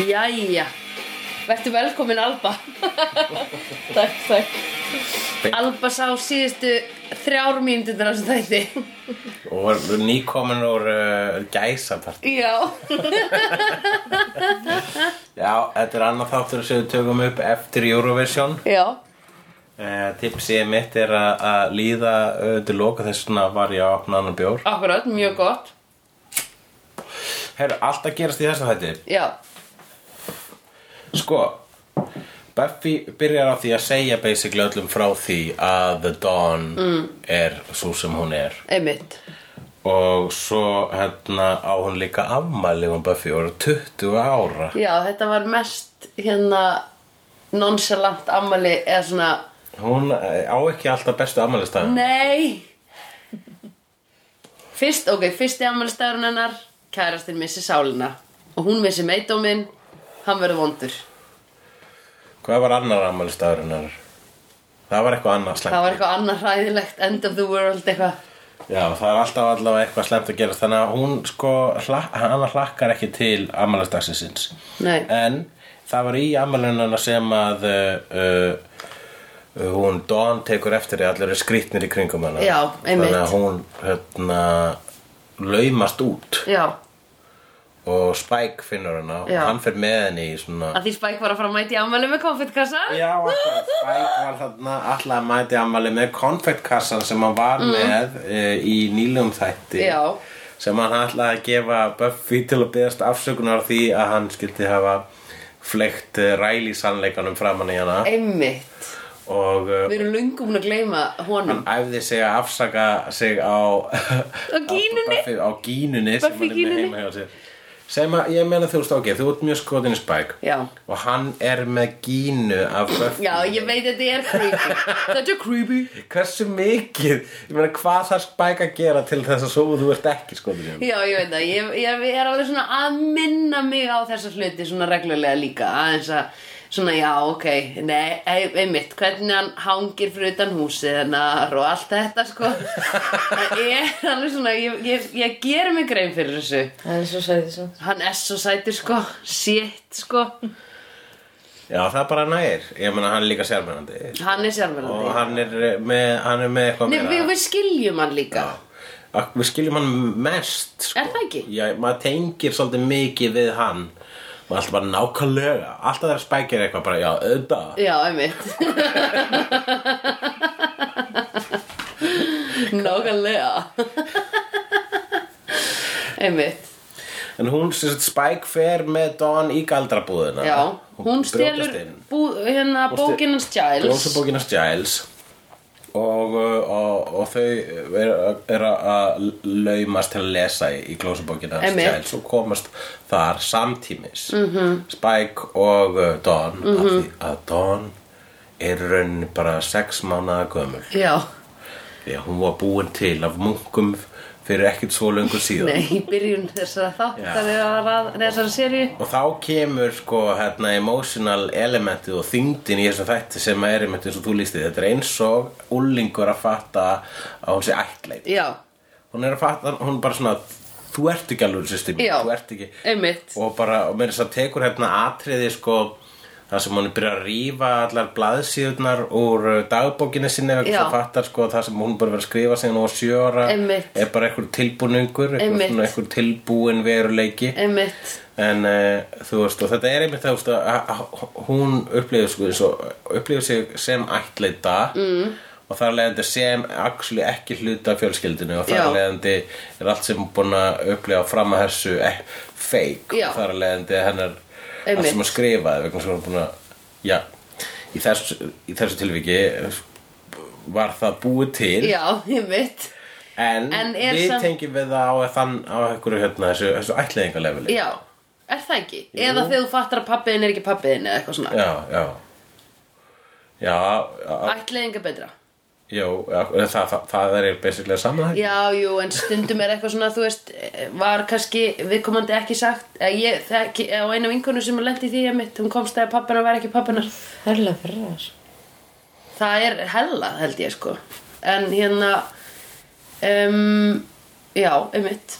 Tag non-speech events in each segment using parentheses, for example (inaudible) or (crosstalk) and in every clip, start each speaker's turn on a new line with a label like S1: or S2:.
S1: Æja, verður velkomin Alba (laughs) Takk, takk Alba sá síðustu þrjár mínútur á þessu þætti
S2: Og var nýkomin úr uh, gæsapart
S1: Já
S2: Já, þetta er annar þáttur sem við tökum upp eftir Eurovision
S1: Já
S2: uh, Tipsið mitt er að- að líða uh, til loka þess vegna var ég að opna annan bjór
S1: Akkurat, mjög gott
S2: Herru, allt að gerast í þessa þætti
S1: Já,
S2: Sko, Buffy byrjar á því að segja basically öllum frá því að The Dawn er svo sem hún er
S1: einmitt
S2: Og svo hérna á hún líka afmæli hún Buffy og er 20 ára
S1: Já, þetta var mest hérna nonchalant ammali eða svona
S2: Hún eh, á ekki alltaf bestu afmælistæðum
S1: Nei Fyrst, ok, fyrsti ammælistagurinn hennar Kærastinn missi sálina Og hún missi meitdóminn Hann verður vondur
S2: Hvað var annar afmælistæðurinn hennar? Það var eitthvað annað slemt
S1: Það var eitthvað annað hræðilegt End of the world eitthvað
S2: Já, það er alltaf allavega eitthvað slemt að gera Þannig að hún sko, hlak, hann hlakkar ekki til afmælistæðsinsins
S1: Nei,
S2: En það var í afmælununa sem að uh, uh, hún Dawn tekur eftir því að allir er skrýtnir í kringum hana
S1: Já, einmitt.
S2: Þannig að hún hérna, laumast út
S1: já
S2: og Spike finnur hana
S1: Já.
S2: og hann fer með henni í svona
S1: Að því Spike var að fara að mæta í ammæli með konfettkassa
S2: Já, akkurat. Spike var þarna alltaf að mæti ammali með konfettkassan sem hann var með e, í nýlegum þætti
S1: Mm. Já.
S2: sem hann ætlaði að gefa Buffy til að byggast afsökunar á því að hann skildi hafa flegt ræli sannleikanum framan í hana
S1: Einmitt
S2: og eh,
S1: Við erum löngum búin að gleyma honum
S2: æfði sig að afsaka sig á á (laughs)
S1: gínunni.
S2: Buffy, á gínunni sem
S1: Buffy
S2: hann er með
S1: gínunni.
S2: heima hjá sér sem að, ég meina þú veist ok, þú ert mjög skotin í Spike
S1: Já.
S2: og hann er með gínu af Buffy
S1: Já, ég veit að þetta er creepy Þetta er creepy
S2: hversu mikið, ég meina hvað þarf Spike að gera til þess að svo þú ert ekki sko, skotin í honum?
S1: Já, ég veit það, ég, ég, ég er alveg svona að minna mig á þessa hluti svona reglulega líka, aðeins að svona já, ok, nei, ei- einmitt hvernig hann hangir fyrir utan húsið hennar og allt þetta sko það er alveg svona ég, ég, ég ger mig grein fyrir þessu
S3: Það er svo sætið svo.
S1: hann er svo sætur sko, shit sko
S2: Já, það bara nægir, ég meina hann er líka sérmennandi
S1: hann er
S2: og
S1: sjálfverðandi
S2: hann er með, hann er með eitthvað
S1: Nei, við, við skiljum hann líka
S2: Ak- Við skiljum hann mest sko.
S1: Er það ekki?
S2: Já, maður tengir svolítið mikið við hann og alltaf bara nákvæmlega alltaf þegar spækir eitthvað bara, já, auðvitað
S1: Já, einmitt Nákvæmlega Einmitt
S2: en hún, sem sagt, spæk fer með Dawn í galdrabúðina
S1: Já, hún
S2: brjótast
S1: stelur
S2: inn.
S1: bú, hérna
S2: Hún stel-
S1: bókinans Giles
S2: Ljósabókinast Giles og, og, og, og þau er, er að laumast til að lesa í, í glósabókinast
S1: Einmitt. Mhm.
S2: Giles og komast þar samtímis -hmm. Spike og uh, Dawn mm af því að Dawn er í rauninni bara sex mánaða gömul
S1: Já,
S2: því að hún var búin til af munkum fyrir ekkert svo löngu síðan
S1: nei, í byrjun þessara þáttar
S2: Já.
S1: er að rað- þessara seríu
S2: og þá kemur sko hérna emotional elementið og þyngdin í þessu þætti sem er einmitt eins og þú lístið þetta er eins og ullingur að fatta að hún sé ættleik
S1: Já,
S2: hún er að fatta, hún er bara svona þú ert ekki alveg systemi,
S1: Já.
S2: þú ert ekki
S1: einmitt
S2: og bara, og mér þess að tekur hérna atriði sko það sem hún er byrjað að rífa allar blaðsíðunar úr uh, dagbókinu sinni og
S1: Já.
S2: það fattar sko það sem hún er bara verið að skrifa sinni og sjöra
S1: Einmitt.
S2: er bara einhver tilbúningur einhver,
S1: Einmitt.
S2: svona, einhver tilbúin veruleiki
S1: Einmitt,
S2: en uh, þú veist og þetta er einmitt það þú veist, að, að hún upplifir sko, eins og, upplifir sig sem ættleita mm. og þar leiðandi sem actually ekki hluta af fjölskyldinu og
S1: Já.
S2: þar leiðandi er allt sem hún búin að upplifa fram að þessu eh, fake
S1: Já.
S2: og þar leiðandi hennar allt
S1: Einmitt.
S2: sem hún skrifaði vegna sem hún búin að já, í þessu, í þessu tilviki eh, var það búið til
S1: já, einmitt
S2: en,
S1: En er
S2: við
S1: samt-
S2: tengjum við það á, þann, á einhverju hérna þessu, þessu ættleiðingalefili
S1: Já, er það ekki? Eða þegar þú fattar að pappiðin er ekki pappiðin eða eitthvað svona
S2: já, já já, já,
S1: Ætliðing er betra
S2: jú, já það, það, það er basically samanhæg
S1: Já, jú, en stundum er eitthvað svona, þú veist, var kannski viðkomandi ekki sagt, eða ég, þekki, eða á einu vinkonu sem lendi því að mitt, hún komst að pappina var ekki pappinar.
S3: Herla fyrir þess.
S1: Það er hella, held ég, sko. En hérna, um, já, einmitt.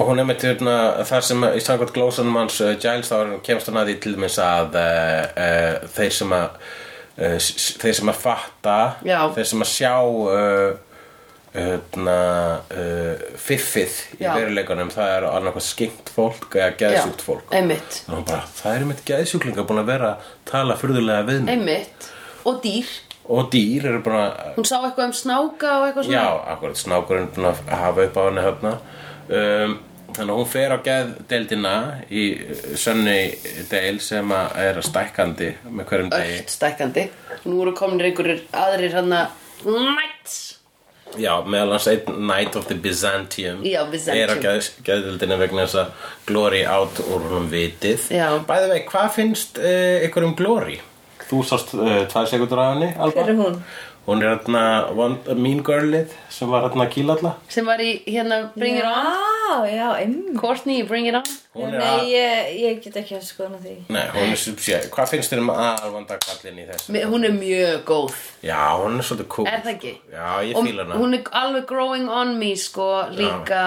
S2: Og hún er með tjörna, þar sem í samkvæmt glósanum hans uh, Giles þá er- kemst hann að því til dæmis að uh, uh, þeir sem að uh, s- s- þeir sem að fatta
S1: Já.
S2: þeir sem að sjá uh, öðna, uh, fiffið í
S1: Já.
S2: veruleikunum það er annarkoð skinkt fólk eða geðsjúkt fólk
S1: einmitt,
S2: og hún bara, það eru mitt geðsjúklingar búin að vera að tala furðulega við mig
S1: einmitt og dýr,
S2: og dýr eru búin að
S1: hún sá eitthvað um snáka og eitthvað svona
S2: Já, akkurat, snákurinn er búinn að hafa upp á henni höfna um, Þannig að hún fer á geðdeildina í uh, sönni deil sem að er stækkandi með hverjum degi
S1: ört stækkandi nú eru kominir einhverjir aðrir hérna, hann að mætt
S2: Já, meðal hans einn Night of the Byzantium
S1: Já, Byzantium.
S2: er á geð, geðdeildina vegna þess að Glory át úr honum vitið
S1: Já.
S2: Bæði vei, hvað finnst uh, ykkur um Glory? Þú sást uh, tvær sekundur af henni, Alba
S3: Hver er hún?
S2: Hún er hérna Wand- Mean Girlið sem var hérna kýlalla
S1: sem var í hérna Bring It On
S3: Já, já, einmitt
S1: Courtney í Bring It On
S2: Hún er að
S3: Nei, ég, ég get ekki að skoðna því
S2: Nei, hún er subsjæð. Hvað finnst þér um aðalvanda kallin í þessu?
S1: Me- hún er mjög góð
S2: Já, hún er svolítið cool.
S1: Er það ekki?
S2: Já, ég
S1: og
S2: fíla hana.
S1: hún er alveg growing on me sko líka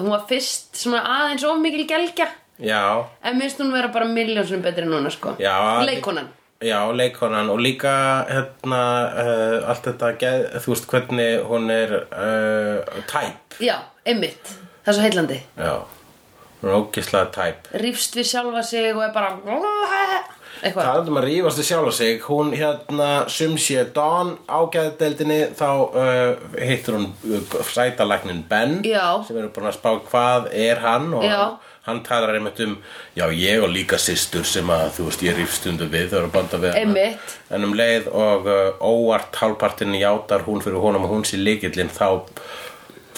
S1: hún var fyrst svona aðeins of mikil gelgja
S2: Já,
S1: en minnst hún vera bara miljónsum betri en núna sko
S2: Já.
S1: leikonan
S2: já, leikonan og líka hérna uh, allt þetta, geð, þú veist hvernig hún er uh, tæp.
S1: já, einmitt, það er svo heillandi
S2: Já, hún er ógislega tæp.
S1: rýfst við sjálfa sig og er bara (laughs) eitthvað
S2: Það er um að rífast í sjálf sig Hún hérna sumsé Dawn ágæðdeldinni Þá uh, hittur hún uh, sætalæknin Ben
S1: Já.
S2: Sem eru búin að spá hvað er hann Og
S1: Já.
S2: hann, hann talar einmitt um Já, ég og líka systur sem að Þú veist, ég rífst stundum við Það eru að banda við hana.
S1: Einmitt.
S2: En um leið og uh, óvart hálpartinn játar hún fyrir honum og hún sé líkillinn Þá,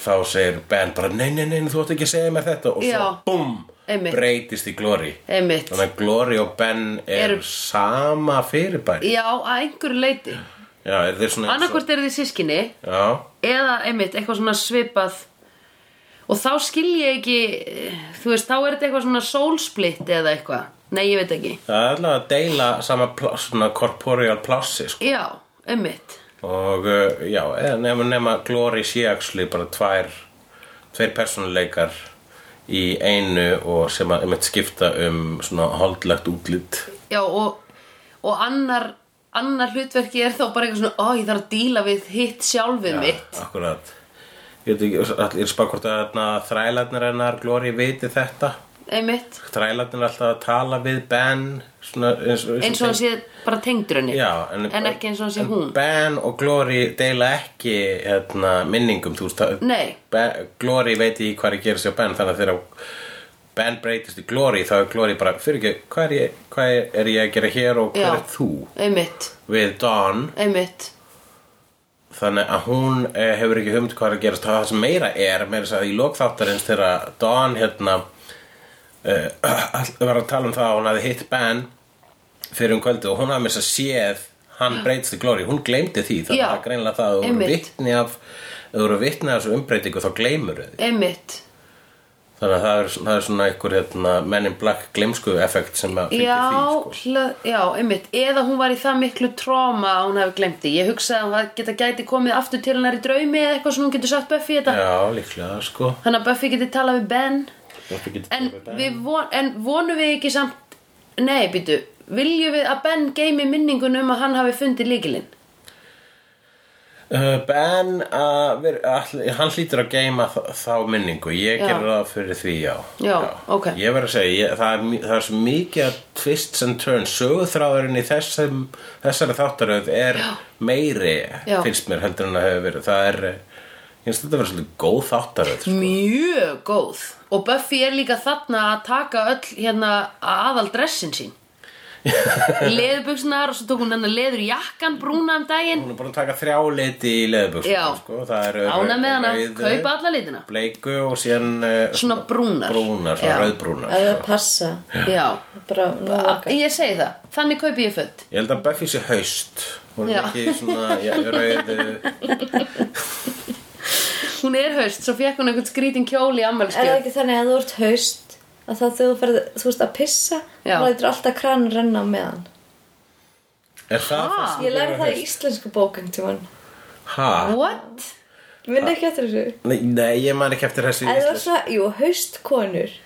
S2: þá segir Ben bara Nei, nei, nei, þú átt ekki að segja mér þetta Og svo
S1: Já.
S2: búm,
S1: Einmitt.
S2: breytist í glóri
S1: einmitt
S2: Þannig að Glory og Ben eru
S1: Eru-
S2: sama fyrirbæri
S1: já, að einhverju leiti
S2: Já, er þeir svona
S1: annarkvort eru þið sískinni
S2: Já,
S1: eða einmitt eitthvað svona svipað og þá skil ég ekki þú veist, þá er þetta eitthvað svona soulsplitt eða eitthvað, nei ég veit ekki
S2: það er allavega að deila sama pláss, svona corporeal plássi sko.
S1: já, einmitt
S2: Og uh, já, eða nema, nema Glory sé actually bara tvær Tveir persónuleikar í einu og sem að einmitt skipta um svona holdlegt útlit
S1: já, og, og annar annar hlutverki er þá bara eitthvað svona ó, ég þarf að díla við hitt sjálfið mitt
S2: Akkurat Ég veit ekki, allir spá hvort að þarna þrælarnir hennar Glory viti þetta
S1: einmitt,
S2: Þrælarnir er alltaf að tala við Ben svona, eins,
S1: eins og hann sé bara tengdur henni
S2: Já, en,
S1: ekki eins og hann sé
S2: en
S1: hún
S2: Ben og Glory deila ekki hérna, minningum þú veist að-
S1: Nei.
S2: ben, Glory veit ekki hvað er að gera sér Ben þannig að þegar Ben breytist í Glory þá er Glory bara fyrir ekki hvað er ég, hvað er, er ég að gera hér og hver
S1: Já.
S2: er þú
S1: einmitt,
S2: við Dawn
S1: einmitt
S2: þannig að hún eh, hefur ekki hugmynd hvað er að gerast það sem meira er, meira þess að í lokþáttarins þegar Dawn hérna eh, (clears throat) var að tala um það að hún hafi hitt Ben fyrir um kvöldu og hún hafi með þess að séð hann breytist í glóri, hún gleymdi því þannig
S1: Já.
S2: að það er greinilega það að þú eru
S1: Einmitt.
S2: vitni af ef þú eru vitni af þessu umbreytingu þá gleymur þið
S1: einmitt,
S2: þannig að það er, það er svona einhver hérna, Men in Black gleymsku effekt sem að fylgir
S1: já,
S2: því sko.
S1: hla- já, einmitt eða hún var í það miklu tróma að hún hefði glemt því ég hugsaði að hún geta gæti komið aftur til hennar í draumi eða eitthvað sem hún getur sagt Buffy í þetta
S2: já, líklega sko
S1: þannig að Buffy geti talað við Ben
S2: Buffy getur
S1: en,
S2: talað við Ben.
S1: við von, en vonum við ekki samt nei, býtu, viljum við að Ben geymi minningun um að hann hafi fundið líkilinn
S2: Uh, ben, uh, ver, all, hann hlýtur að geima þá, þá minningu, ég
S1: Já.
S2: gerði það fyrir því, já.
S1: Já, ok.
S2: Ég verð að segja, ég, það, er, mi- það er svo mikið að twists and turns, söguþráðurinn í þessum, þessari þáttaröð er meiri,
S1: Já.
S2: finnst mér heldur en að hefur verið. Það er, eh, ég finnst þetta að vera svolítið góð þáttaröð. sko.
S1: mjög góð og Buffy er líka þarna að taka öll hérna aðal dressin
S2: (laughs)
S1: sín leðubuxnar og svo tók hún hennar leður jakkan brúna um daginn
S2: Hún er búin að taka þrjá liti í
S1: Já.
S2: leðuböksum, sko. Það er
S1: ána með hana, kaupa alla litina
S2: Bleiku og síðan eh,
S1: Svona brúnar.
S2: Brúnar, svona
S1: Já. Eh,
S2: rauðbrúnar.
S3: Það er að passa
S1: já,
S3: Bara, nú okkar
S1: ég segi það, þannig kaupi ég föt
S2: Ég held að Buffy sé haust Hún
S1: Já.
S2: er ekki svona já, eh, rauð,
S1: hún er haust, svo fekk hún einhvern skrítin kjóli í
S3: Er það
S1: ammælskjöld
S3: ekki þannig að þú ert haust að þá þegar þú ferð, þú veist að pissa
S1: Já.
S3: þá lætur alltaf kranur renna á meðan
S2: Er
S1: Ha?
S2: það það sem
S3: Ég
S2: gerir
S3: lærði það í
S2: haust?
S3: íslensku bókang til hann
S2: Ha?
S1: what?
S3: Minn ekki eftir þessu
S2: Nei, nei ég man ekki eftir þessi
S3: En það var svona, jú, haustkonur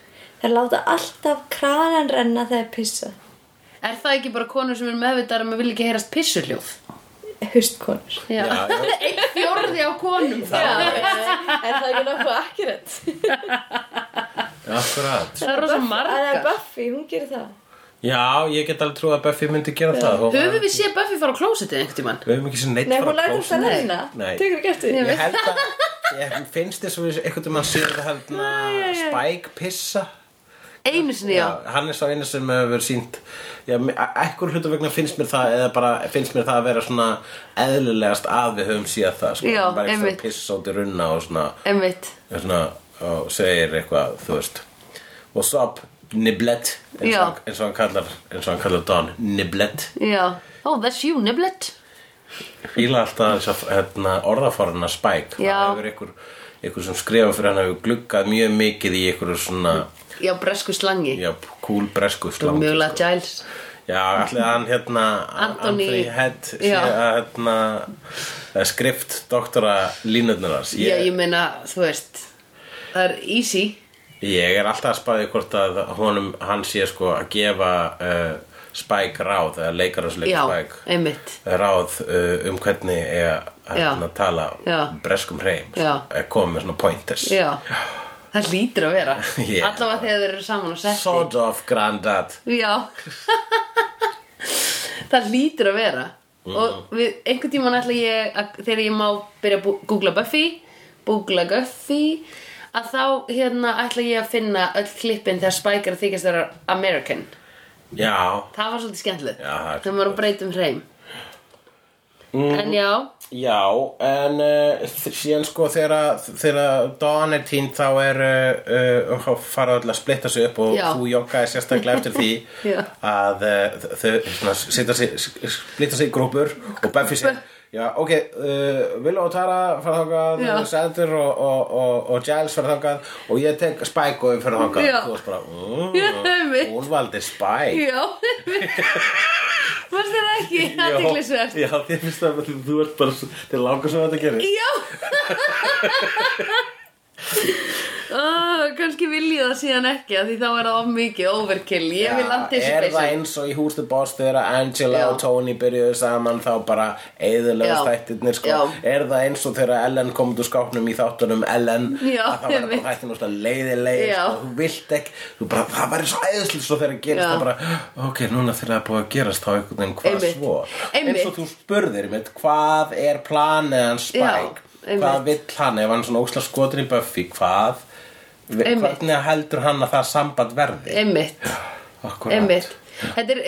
S3: Þær láta alltaf kranan renna þegar pissa
S1: Er það ekki bara konur sem er meðvitaðar um að vilja ekki heyrast pissuljóð?
S3: Haustkonur
S1: Já.
S2: Já, já.
S1: Einn fjórði á konum þá.
S3: er það ekki nokkuð akkurat?
S2: Akkurat
S1: Það er rosa
S3: Það er
S1: margar.
S3: Buffy, hún gerir það
S2: Já, ég get alveg trúið að Buffy myndi gera það Hún-
S1: Höfum við séð Buffy fara á klósitið einhvern tímann?
S2: Við höfum ekki sér neitt
S3: Nei,
S2: fara
S3: hún lætur
S2: klósinu.
S3: alltaf renna
S2: Nei.
S3: Tekur ekki eftir
S1: Ég
S2: Ég held að Ég finnst þess að við einhvern veginn sér það hérna Spike pissa
S1: Einu sinni, já.
S2: Hann er svo einu sem hefur verið sínt Já, ekkur hlutu vegna finnst mér það eða bara finnst mér það að vera svona eðlilegast að við höfum síðan það sko.
S1: Já,
S2: Hann bara
S1: einmitt.
S2: einhvern pissa út í runna og svona,
S1: Einmitt.
S2: svona og segir eitthvað, þú veist What's up, niblet eins
S1: Já.
S2: og, eins og hann kallar eins og hann kallar Don, niblet
S1: Já. Oh, that's you, niblet.
S2: fíla alltaf þess að hérna, orðaforna spæk
S1: Já.
S2: það hefur einhver, einhver sem skrifa fyrir hann hefur gluggað mjög mikið í einhverju svona
S1: Já, bresku slangi.
S2: já, cool bresku slang
S1: Mjögulega Giles.
S2: já, allir hann hérna
S1: Anthony-
S2: Head sé
S1: Já.
S2: að hérna að skrift doktora línutnar hans
S1: Já,
S2: ég,
S1: ég meina, þú veist, það er easy.
S2: ég er alltaf að spáði hvort að honum, hann sé sko að gefa uh, spæk ráð eða leikar hans leik
S1: Já,
S2: spæk
S1: einmitt.
S2: ráð uh, um hvernig eiga
S1: Já.
S2: hérna, að tala
S1: Já.
S2: breskum hreim
S1: Já.
S2: komið með svona pointers
S1: Já. Það lítur að
S2: (laughs)
S1: vera.
S2: Já.
S1: Allavega þegar þeir eru saman og setti.
S2: Sort of granddad
S1: Já Það lítur að vera
S2: Mm.
S1: Og við, einhvern tímann ætla ég að, Þegar ég má byrja að bú- googla Buffy Googla Guffy Að þá hérna ætla ég að finna öll klippin þegar Spike er að þykjast vera American
S2: Já,
S1: Það var svolítið skemmtilegt
S2: Já, það er Mm.
S1: Þegar maður er að breyta um hreim En já,
S2: já En uh, síðan sko þegar að- þegar að Dawn er tínt þá er uh, uh, þá fara öll að splitta sig upp og
S1: Já.
S2: þú joggaði sérstaklega eftir því
S1: (laughs) Já.
S2: að uh, þau svona, setja sig, splitta sig í grúpur og Buffy sér Já, ok, uh, Willow og Tara fara þangað,
S1: Já.
S2: Sander og, og, og, og Giles fara þangað og ég tek Spike og við fyrir þangað
S1: Já.
S2: Þú varst bara,
S1: Já,
S2: mm,
S1: einmitt.
S2: hún valdi Spike
S1: (laughs) já Varst þér ekki aðteglisvert?
S2: Já, þér finnst það að þú ert bara Þér langar sem þetta gerir
S1: Já oh, Kannski vil ég það síðan ekki af Því þá er það of mikið overkill Ég vil
S2: Er það
S1: anticipation
S2: eins og í Who's the Boss þegar Angela
S1: Já.
S2: og Tony byrjuðu saman þá bara eðilega
S1: Já.
S2: þættirnir sko.
S1: Já.
S2: Er það eins og þegar Ellen kom út úr skápnum í þáttunum Ellen
S1: Já,
S2: að það var bara
S1: einmitt.
S2: þættin og svona leiðileg
S1: Já.
S2: sko, þú vilt ekki, þú bara það væri svo æðislega svo þegar það gerist
S1: Já.
S2: það bara, ok, núna þegar það er búið að gerast þá einhvern veginn hvað
S1: Einmitt.
S2: svo
S1: Einmitt.
S2: eins og þú spurðir mitt, hvað er planið hans Spike,
S1: Já, einmitt.
S2: hvað vill hann ef hann er svona ósla skotin í Buffy, hvað
S1: Einmitt.
S2: hvernig heldur hann að það samband verði
S1: Einmitt,
S2: Akkurat.
S1: einmitt Þetta er,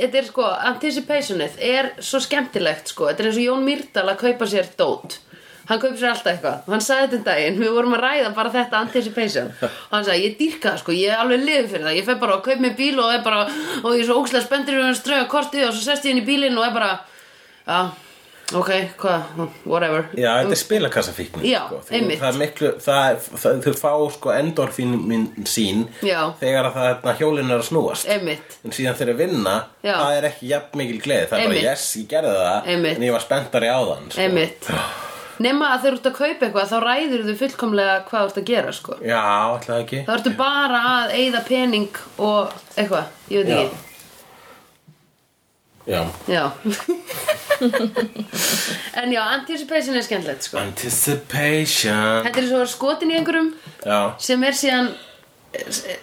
S1: þetta er sko, anticipationið er svo skemmtilegt sko Þetta er eins og Jón Mýrdal að kaupa sér dót Hann kaupa sér alltaf eitthvað og Hann sagði þetta um daginn, við vorum að ræða bara þetta anticipation Og hann sagði, ég dýrka það sko, ég er alveg liður fyrir það Ég fer bara og kaup mér bíl og er bara Og ég er svo ókslega spendur og hann ströga kortið Og svo sest ég inn í bílinn og er bara Já, ok, hvað, whatever
S2: Já, þetta er spilakassafíkni
S1: Já,
S2: sko. Því
S1: einmitt.
S2: Það er miklu, það, það, þau fá sko endorfín minn sín
S1: Já.
S2: þegar að það hérna, hjólinn er að snúast
S1: Einmitt,
S2: En síðan þegar þeir vinna,
S1: Já.
S2: það er ekki jafn mikil gleði Það er
S1: Einmitt.
S2: bara, yes, ég gerði það
S1: Einmitt.
S2: En ég var spenntari á þann sko.
S1: einmitt Nefna að þau eru út að kaupa eitthvað þá ræður þau fullkomlega hvað þú ert að gera sko
S2: Já, ætlaði ekki
S1: Það ertu bara að eyða pening og eitthvað, ég veit
S2: Já.
S1: ekki.
S2: Já
S1: Já. (laughs) en já, anticipation er skemmtilegt, sko.
S2: Anticipation
S1: Þetta er svo skotin í einhverjum
S2: Já,
S1: sem er síðan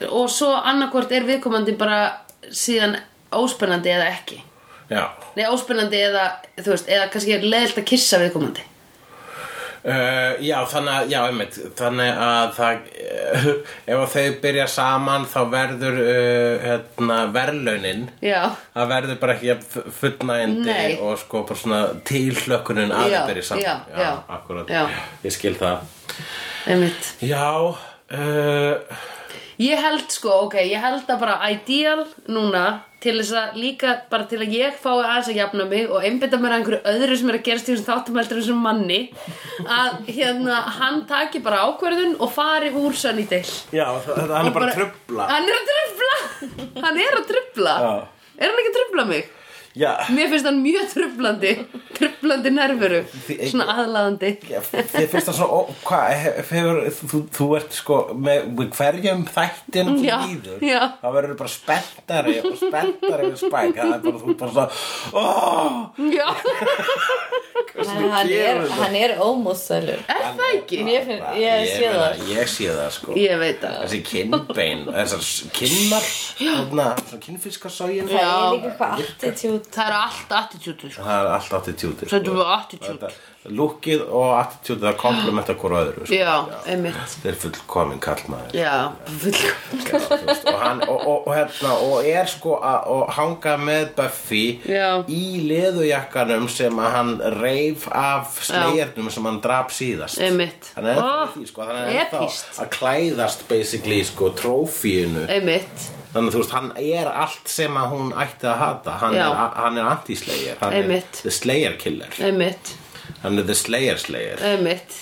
S1: og svo annarkvort er viðkomandi bara síðan óspennandi eða ekki.
S2: já
S1: Nei, óspennandi eða, þú veist, eða kannski er leðilt að kissa viðkomandi.
S2: Uh, já, þannig að, já, einmitt, þannig að það, uh, (laughs) ef að þau byrja saman þá verður uh, hérna, verðlaunin
S1: Já,
S2: Það verður bara ekki jafn fullnægjandi
S1: Nei.
S2: og sko bara svona tilhlökkunin
S1: Já,
S2: aðeins byrja saman.
S1: já, já.
S2: akkurat.
S1: Já.
S2: Ég skil það.
S1: einmitt.
S2: Já, uh,
S1: Ég held sko, ok, ég held að bara ideal núna til þess að líka bara til að ég fái aðeins að jafna mig og einbytta mér að einhverju öðru sem er að gerast í þessum þáttum heldur en þessum manni að hérna hann taki bara ákverðun og fari úr sann í deil
S2: já, það, hann er bara að trubla.
S1: Hann er að trubla Hann er að trubla
S2: Já.
S1: Er hann ekki að trubla mig?
S2: Já,
S1: Mér finnst hann mjög trublandi sveplandi nervuru
S2: Þi-
S1: svona aðlaðandi
S2: Já, Þið finnst það svona, ó, hvað, hef- hefur, þú, þú ert sko, með, með hverjum þættin þú
S1: Já,
S2: líður,
S1: já.
S2: þá verður þú bara spenntari og spenntari við spæk, það er bara, þú bara svona, ó,
S1: já,
S3: En hann er,
S2: kemur það?
S3: hann er ómóðsælur.
S1: er það ekki?
S3: Mér finn, ég sé
S2: meina,
S3: það.
S2: Ég sé það, sko.
S1: ég veit það
S2: Þessi kinnbein, þessar s- kinnar, þarna, svona kinnfiskasógin.
S3: Það
S1: Já.
S3: er líka eitthvað attitút.
S1: það eru allt attitude sko.
S2: Það er allt attitúti,
S1: Þetta er bara attitude.
S2: Lúkið og attitúti, það komplementa hvora öðru, sko.
S1: já, einmitt
S2: Þetta er fullkomin kallmaður.
S1: já, fullkomlega
S2: Já, þú veist, og, hann, og, og, og, hérna, og er sko að og hanga með Buffy
S1: Já.
S2: í leðujakkanum sem að hann reif af slegjernum sem hann drap síðast
S1: Einmitt.
S2: hann er ennþá
S1: Ah,
S2: í því sko hann er ennþá
S1: epískt.
S2: að klæðast basically sko trófíinu
S1: einmitt,
S2: þannig að þú veist hann er allt sem að hún ætti að hata hann
S1: Já.
S2: er, hann er anti-slayer hann
S1: Einmitt.
S2: er the slayer killer
S1: einmitt,
S2: hann er the slayer slayer
S1: einmitt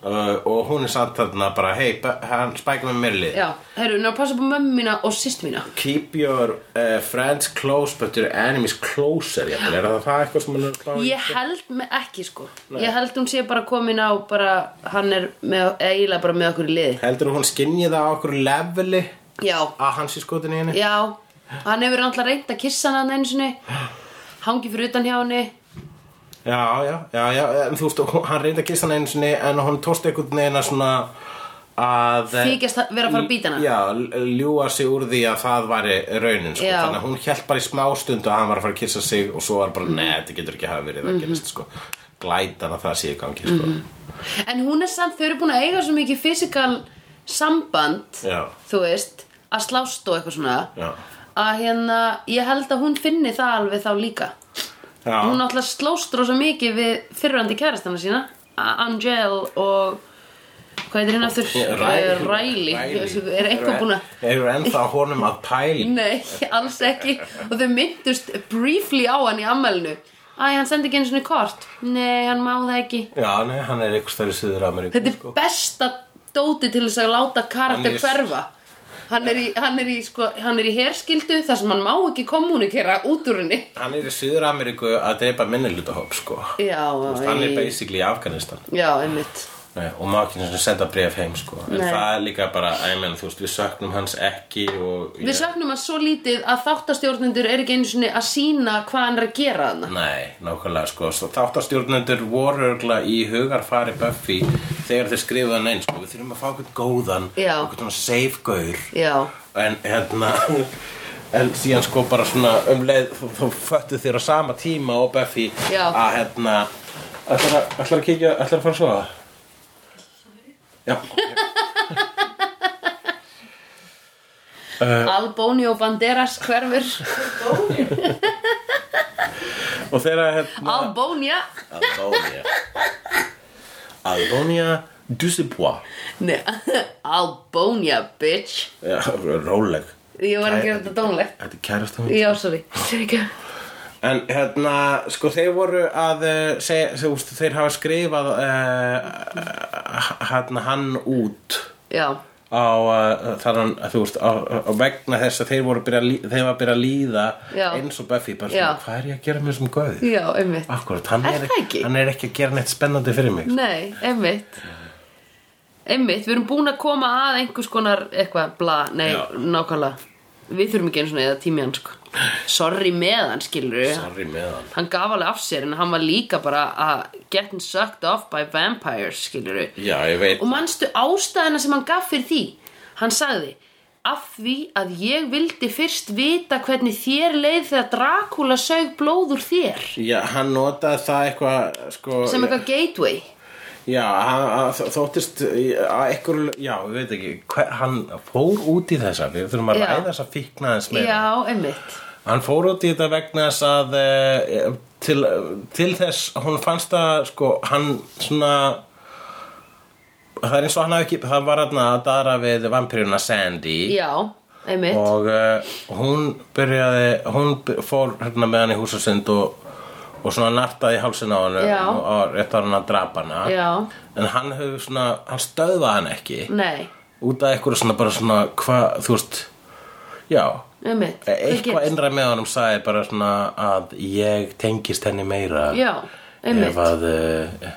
S2: uh, og hún er samt þarna bara hei Bu- hann spæk með mér lið
S1: já, herru, ná passa upp á mömmu mína og sýst mína
S2: Keep your uh, friends close but your enemies closer jafnvel, er það það eitthvað sem hann er að klá í?
S1: ég held með ekki sko ég held hún sé bara komin á bara, hann er með, eiginlega bara með okkur í liði
S2: Heldur hún skinnið það á okkur leveli
S1: já,
S2: að hans í skotin í henni?
S1: Já, hann hefur alltaf reynt að kissa hann einu sinni Hangi fyrir utan hjá henni
S2: Já, já, já, já, en þú veist, hún- hann reyndi að kissa hann einu sinni en hún tóst einhvern veginn að svona að... eh,
S1: Þykjast vera að fara að býta hana
S2: Já, ljúa sig úr því að það væri raunin, sko,
S1: Já.
S2: þannig að hún hjælt bara í smástund að hann var að fara að kissa sig og svo var bara, nei, þetta getur ekki hafa verið
S1: Mhm.
S2: að gerist, sko, glætan að það sé í gangi, sko.
S1: En hún er samt, þau eru búin að eiga svo mikið fysikal samband
S2: Já.
S1: Þú veist, að slást og eitthvað svona
S2: Já.
S1: Að hérna, ég held að hún finni það alveg þá líka
S2: Já.
S1: Hún alltaf slóst rosa mikið við fyrrandi kærastana sína A- Angel og Hvað heitir hérna aftur?
S2: Riley.
S1: Eh, Riley. Riley. Er einhver búin að Mm.
S2: Eru ennþá honum að pæli
S1: Nei, alls ekki Og þau myndust briefly á hann í ammælinu Æ, hann sendi ekki einu svona kort Nei, hann má það ekki
S2: Já, nei, hann er ykkur stærri Suður Ameríku
S1: Þetta er besta dóti til þess að láta karakter
S2: Sko. Hann er-
S1: hverfa Hann er, í, hann, er í, sko, hann er í herskildu þar sem hann má ekki kommunikera út úr henni
S2: Hann er í Suður Ameríku að dreipa minnihlutahóp sko
S1: Já,
S2: Þú veist, Hann er
S1: í-
S2: basically í Afganistan
S1: já, einmitt
S2: nei, og má ekki einu sinni senda bref heim sko En
S1: Nei.
S2: það er líka bara, æ, menn, þú veist, við söknum hans ekki og
S1: Við söknum að svo lítið að þáttastjórnendur er ekki einu svona að sína hvað hann er að gera þarna
S2: Nei, nákvæmlega sko Svo Þáttastjórnendur voru örgla í hugarfari Buffy þegar þeir skrifuðu hann einn sko Við þurfum að fá okkur góðan
S1: Já.
S2: Okkur svona safe gaur
S1: Já,
S2: en hérna en síðan sko bara svona um leið þú, þú föttu þér á sama tíma og Buffy
S1: Já.
S2: að hérna ætlar að, ætlar að kíkja, ætlar að fara að sofa já Eh.
S1: Albonio Banderas hverfur
S2: (laughs) og þeirra hérna
S1: Albonia
S2: Albónia Albónia Dusipois
S1: (laughs) Nei, Albonia, bitch
S2: já, róleg
S1: Ég var að gera þetta dónlegt
S2: þetta er kærasta hún
S1: Já,
S2: (laughs)
S1: sorry Sorry.
S2: En hérna, sko þeir voru að eh, segja, þú veist, þeir hafa skrifað uh, hérna hann út
S1: Já,
S2: á uh, þannan, þú veist, á, á vegna þess að þeir voru að byrja, að lí- þeir var að byrja að líða
S1: Já.
S2: eins og Buffy, bara
S1: Já.
S2: svona, hvað er ég að gera með þessum gauð?
S1: já, einmitt
S2: Akkurat, hann
S1: Er
S2: er,
S1: það ekki?
S2: hann er ekki að gera neitt spennandi fyrir mig.
S1: Nei, einmitt Einmitt, við erum búin að koma að einhvers konar eitthvað, bla, nei,
S2: Já.
S1: nákvæmlega Við þurfum ekki einu svona eða tími hann sko Sorry með hann, skilur við
S2: Sorry með hann.
S1: Hann gaf alveg af sér en hann var líka bara að getting sucked off by vampires, skilur við
S2: Já, ég veit.
S1: Og manstu ástæðina sem hann gaf fyrir því? Hann sagði, af því að ég vildi fyrst vita hvernig þér leið þegar Dracula sög blóð úr þér.
S2: Já, hann notaði það eitthvað, sko,
S1: Sem eitthvað gateway.
S2: já, hann, að- þó- þóttist, að eitthvað, já, ég veit ekki, hver, hann fór út í þessa, við þurfum að
S1: Já.
S2: ræða þessa fíkna þess með.
S1: Já, einmitt.
S2: Hann fór út í þetta vegna þess að eh, til, til þess hún fannst að sko hann svona það er eins og hann hafi ekki það var hann að dara við vampiruna Sandy
S1: Já, einmitt.
S2: og uh, hún byrjaði hún by- fór hérna með hann í húsasund og, og svona nartaði í hálsinn á hann
S1: Já.
S2: og, og rétt var hann að drapa hana
S1: Já.
S2: en hann hefur svona, hann stöðvaði hann ekki
S1: Nei,
S2: út af einhverju svona bara svona hvað, þú veist já,
S1: einmitt. Hvað
S2: Eh, eitthvað
S1: gerist?
S2: innra með honum sagði bara svona að ég tengist henni meira
S1: Já. einmitt.
S2: ef að uh,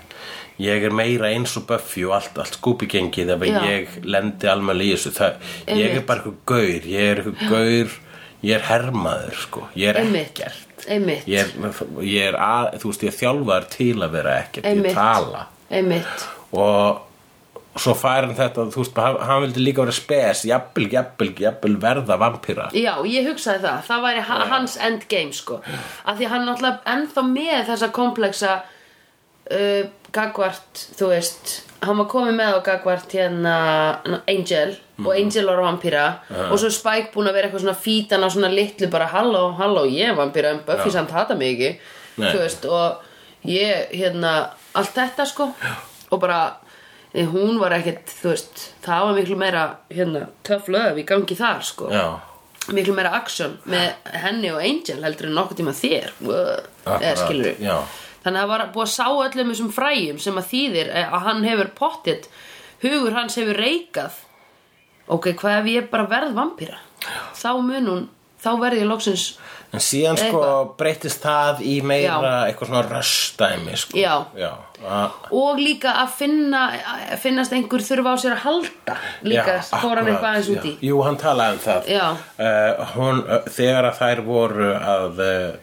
S2: ég er meira eins og Buffy og allt, allt skúpigengið ef
S1: Já.
S2: að ég lendi almenlega í þessu það, ég er
S1: Einmitt.
S2: bara eitthvað gaur ég er eitthvað gaur, ég er hermaður sko. ég er
S1: Einmitt.
S2: ekkert
S1: Einmitt.
S2: ég er, ég er að, þú veist, ég er þjálfaður til að vera ekkert,
S1: Einmitt.
S2: ég tala
S1: Einmitt.
S2: og svo fær hann þetta, þú veist, hann, hann vildi líka vera spes, jafnvel, jafnvel, jafnvel verða vampíra
S1: Já, ég hugsaði það, það væri ha hans endgame sko, af því hann náttúrulega ennþá með þessa komplexa uh, gagvart þú veist, hann var komið með á gagvart hérna na, Angel
S2: Mhm.
S1: og Angel var vampíra og svo Spike búin að vera eitthvað svona fítan á svona litlu bara halló, halló, ég er vampíra en Buffy
S2: Já.
S1: samt hata mig ekki
S2: Nei.
S1: þú veist, og ég, hérna allt þetta sko og bara, eh, hún var ekkert þú veist, það var miklu meira hérna, tough love í gangi þar sko
S2: Já,
S1: miklu meira action með henni og Angel heldur en nokkuð tíma þér Böh, eða
S2: Akkurat,
S1: skilur
S2: já.
S1: þannig að það var búið að sá öllum þessum fræjum sem að þýðir eh, að hann hefur pottitt hugur hans hefur reikað ok, hvað ef ég bara verð vampíra þá mun hún, þá verð ég loksins
S2: en síðan sko
S1: Eitthvað.
S2: breytist það í meira
S1: Já.
S2: eitthvað svona röstdæmi sko.
S1: Já.
S2: Já. að-
S1: og líka að finna að finnast einhver þurfa á sér að halda líka,
S2: Já,
S1: fór hann
S2: akkurat,
S1: eitthvað aðeins út
S2: já.
S1: í
S2: Jú, hann talaði um það
S1: Já.
S2: uh, hún, uh, Þegar að þær voru að uh,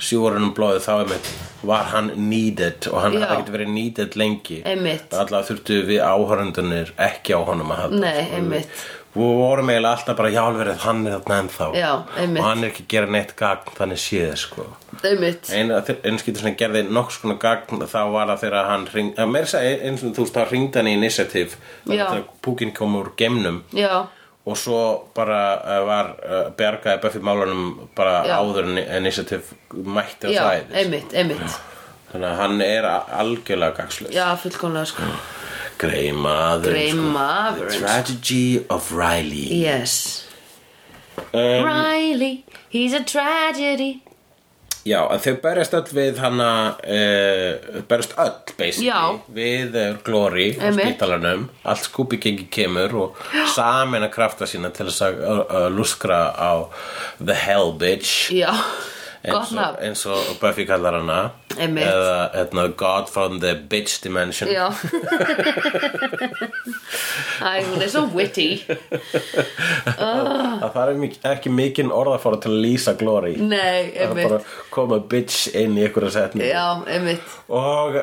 S2: sjórunum blóðið þá einmitt var hann needed og hann
S1: Já.
S2: hafði ekkert verið needed lengi
S1: Einmitt.
S2: Alla þurftu við áhörundunir ekki á honum að halda
S1: Nei,
S2: Sko,
S1: einmitt.
S2: Við við vorum eiginlega alltaf bara jálverið hann er þarna ennþá
S1: Já, einmitt.
S2: og hann er ekki að gera neitt gagn þannig séð sko
S1: einmitt,
S2: einu einskýtur sem hann gerði nokks konar gagn þá var það þegar hann hring, að meira segja eins og þú veist þá hringdi hann í initiative
S1: Já.
S2: þegar púkinn kom úr gemnum
S1: já,
S2: og svo bara uh, var uh, bjargaði Buffy málunum bara
S1: Já.
S2: áður en initiative mætti á
S1: já,
S2: það
S1: einmitt, einmitt
S2: þannig að hann er a- algjörlega gagslaus
S1: já, fullkomlega sko
S2: greimaður
S1: Greimaður,
S2: sko.
S1: sko.
S2: tragedy of Riley
S1: yes
S2: um,
S1: Riley, he's a tragedy
S2: Já, að þau berjast öll við hana uh, berjast öll, basically
S1: Já.
S2: við uh, Glory á
S1: Einmitt.
S2: spítalanum allt skúpi gengi kemur og samin að krafta sína til þess að uh, uh, luskra á The Hell Bitch
S1: Já, gott
S2: eins og,
S1: nafn
S2: eins og Buffy kallar hana
S1: Einmitt.
S2: eða hérna, God from the Bitch Dimension
S1: Já Æ, hún er svo witty
S2: það þarf mik- ekki mikinn orðafóra til að lýsa Glory
S1: Nei,
S2: það er
S1: einmitt
S2: bara að koma bitch inn í einhverja setning
S1: Já, einmitt
S2: og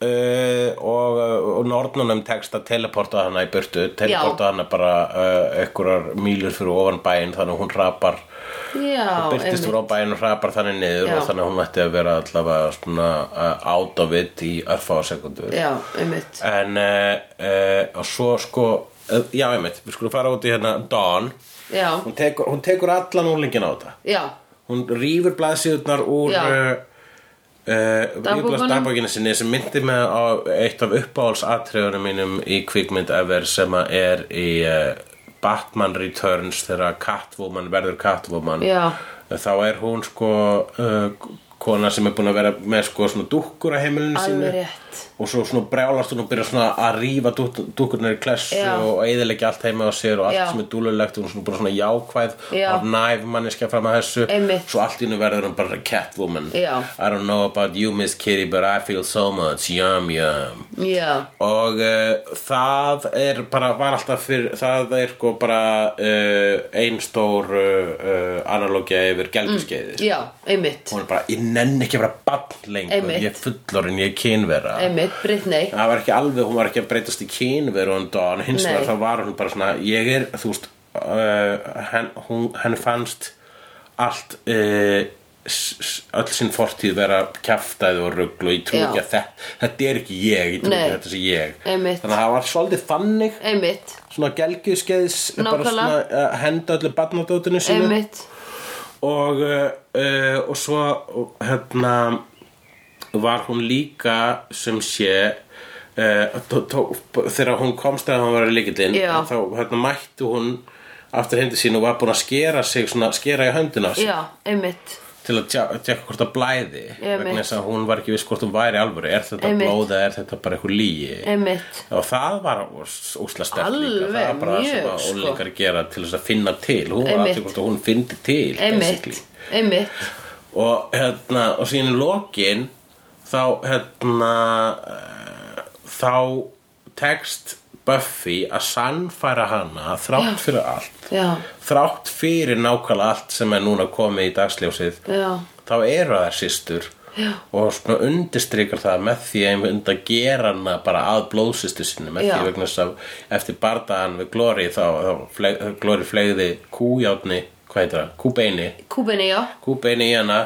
S2: Uh, og, og nornunum tekst að teleporta hana í burtu teleporta hana bara uh, einhverjar mýlur fyrir ofan bæinn þannig að hún rapar
S1: Já,
S2: byrtist
S1: einmitt
S2: úr á bæinn og rapar þannig niður
S1: Já.
S2: og þannig að hún ætti að vera allavega svona uh, out of it í örfáa sekundur
S1: Já, einmitt
S2: en uh, uh, og svo sko uh, já einmitt, við skulum fara út í hérna Dawn
S1: Já,
S2: hún tekur, hún tekur allan úrlingin á þetta
S1: já,
S2: hún rýfur blaðsíðurnar úr
S1: Já.
S2: uh, uh,
S1: Dagbókunum.
S2: dagbókinu sinni sem myndi með á eitt af uppáhaldsatriðunum mínum í kvikmynd ever sem að er í uh, Batman Returns þegar Catwoman verður Catwoman
S1: Já.
S2: þá er hún sko uh, kona sem er búin að vera með sko svona dúkkur á heimilinu sínu
S1: alveg rétt
S2: og svo svona brjálast hún og byrja svona að rífa dúkurnar í klessu
S1: Já.
S2: og eiðilegja allt heima á sér og allt
S1: Já.
S2: sem er dúlulegt og hún svona bara svona jákvæð
S1: Já.
S2: og næf manneskja fram að þessu
S1: Einmitt.
S2: svo allt í hennu verður hún bara catwoman
S1: Já.
S2: I don't know about you miss kitty but I feel so much yum yum
S1: Já,
S2: og uh, það er bara var alltaf fyrir það er sko bara uh, ein stór uh, uh, analógia
S1: Mm.
S2: yfir gelfiskeiði
S1: já, einmitt
S2: hún er bara, ég nenni ekki að vera bann lengur
S1: Einmitt.
S2: ég er fullorinn, ég er kynvera
S1: Einmitt, Britney
S2: það var ekki alveg, hún var ekki að breytast í kynveru en Dawn, hins
S1: Nei.
S2: vegar þá var hún bara svona ég er, þú veist uh, henn, hún, henn fannst allt uh, s- s- öll sinn fortíð vera kjaftaði og rugl og ég trú
S1: Já.
S2: ekki að þetta þetta er ekki ég, ég trú
S1: Nei.
S2: ekki að þetta sé ég
S1: Einmitt.
S2: þannig að það var svolítið þannig
S1: Einmitt,
S2: svona gelgjuskeiðs bara
S1: Nákvæmlega.
S2: svona uh, henda öllu barnadótinu sínu
S1: einmitt
S2: og, uh, og svo hérna var hún líka sem sé uh, tó, tó, þegar hún komst að hún var í líkildin
S1: Já.
S2: þá hérna, mætti hún aftur hindi sín og var búin að skera sig svona, skera í höndina sig,
S1: Já, einmitt
S2: til að tjá- tjekka hvort það blæði
S1: Einmitt.
S2: vegna þess að hún var ekki viss hvort hún væri alvöru er þetta
S1: Einmitt.
S2: blóð eða er þetta bara eitthvað lígi
S1: Einmitt
S2: og það var úsla sterk líka það var
S1: Alveg,
S2: bara
S1: mjög,
S2: svona
S1: sko.
S2: ólingar gera til þess að finna til hún var
S1: Einmitt.
S2: aftur hvort að hún fyndi til basically
S1: Einmitt, einmitt
S2: og hérna og síðan í lokin þá hérna eh, þá tekst Buffy að sannfæra hana þrátt fyrir allt
S1: Já,
S2: þrátt fyrir nákvæmlega allt sem er núna komið í dagsljósið
S1: já,
S2: þá eru þær systur
S1: Já.
S2: og svona undirstrykar það með því einmitt að gera hana bara að blóðsýstu sinni með
S1: Já.
S2: því vegna þess að eftir bardaðan við Glory þá, þá fleg, Glory flegði kújátni, hvað heitir það, kúbeini
S1: kúbeni, já
S2: kúbeini í hana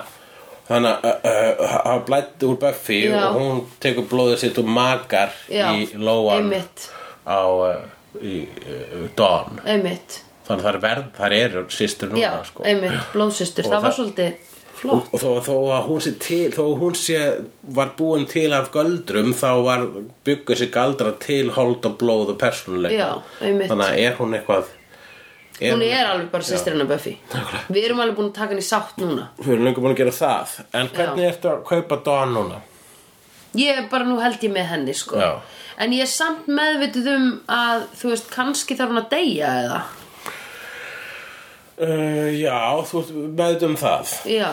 S2: þannig að uh, uh, hann blætti úr Buffy
S1: Já.
S2: og hún tekur blóðið sitt og makar
S1: Já,
S2: í lóan
S1: einmitt.
S2: á uh, í, uh, Dawn
S1: Einmitt,
S2: þannig að það er verð, það eru systur núna
S1: já,
S2: sko.
S1: einmitt, blóðsystur
S2: Og
S1: Það var
S2: það-
S1: svolítið
S2: og
S1: flott
S2: þó, þó að hún sé til þó að hún sé var búin til af göldrum þá var bygguð sér galdra til hold og blóð og persónuleika
S1: Já, einmitt.
S2: þannig að er hún eitthvað
S1: Hún er alveg bara sýstir hennar Buffy Við erum alveg búin að taka henni sátt núna
S2: við erum lengur búin að gera það en hvernig ertu að kaupa Dawn núna
S1: Ég er bara nú held ég með henni sko
S2: Já.
S1: En ég er samt meðvituð um að þú veist, kannski þarf hún að deyja eða
S2: uh, já, þú ert meðut um það
S1: Já,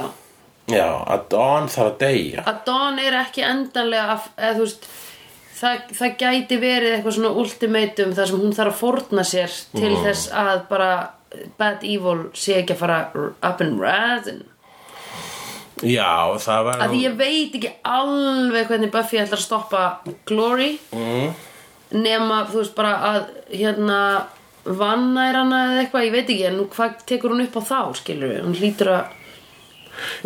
S2: já, að Dawn þarf að deyja
S1: að Dawn er ekki endanlega að, eða þú veist það, það gæti verið eitthvað svona ultimatum þar sem hún þarf að forna sér til
S2: Mhm.
S1: þess að bara bad evil sé ekki að fara up and rising
S2: já, það var
S1: að því ég veit ekki alveg hvernig Buffy ætlar að stoppa Glory
S2: mm,
S1: nema þú veist bara að hérna vannær hana eða eitthvað, ég veit ekki en nú hvað tekur hún upp á þá skilur við, hún hlýtur að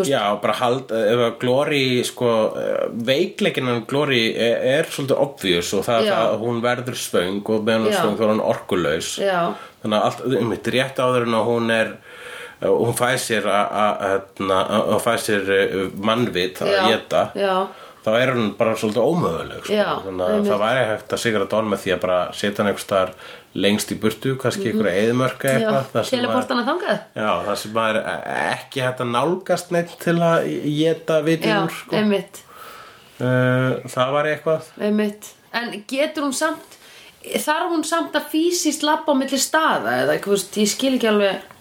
S2: já, bara hald ef að Glory, sko eh, veikleikinn hann Glory er, er svolítið obvious og
S1: Já.
S2: það er það að hún verður svöng og meðan
S1: Já.
S2: hún er svöng þá er hann orkulaus
S1: já,
S2: þannig að allt, um mitt rétt áður en að hún er eh, hún fæ sér að- að hérna, að- hún fæ sér eh, mannvit að
S1: já,
S2: geta
S1: já,
S2: þá er hún bara svolítið ómöguleg sko.
S1: Já,
S2: þannig að
S1: einmitt.
S2: það væri hægt að sigra dán með því að bara setja hann einhvers staðar lengst í burtu, kannski einhverja eðmörka
S1: Mhm. já,
S2: eitthvað, það sem maður-
S1: teleportana þangað
S2: Já, það sem maður er ekki hægt að nálgast neitt til að geta
S1: já,
S2: vitið úr sko.
S1: einmitt
S2: uh, það var eitthvað
S1: einmitt, en getur hún samt þarf hún samt að fysiskt labba á milli staða eða eitthvað, þú veist, ég skil ekki alveg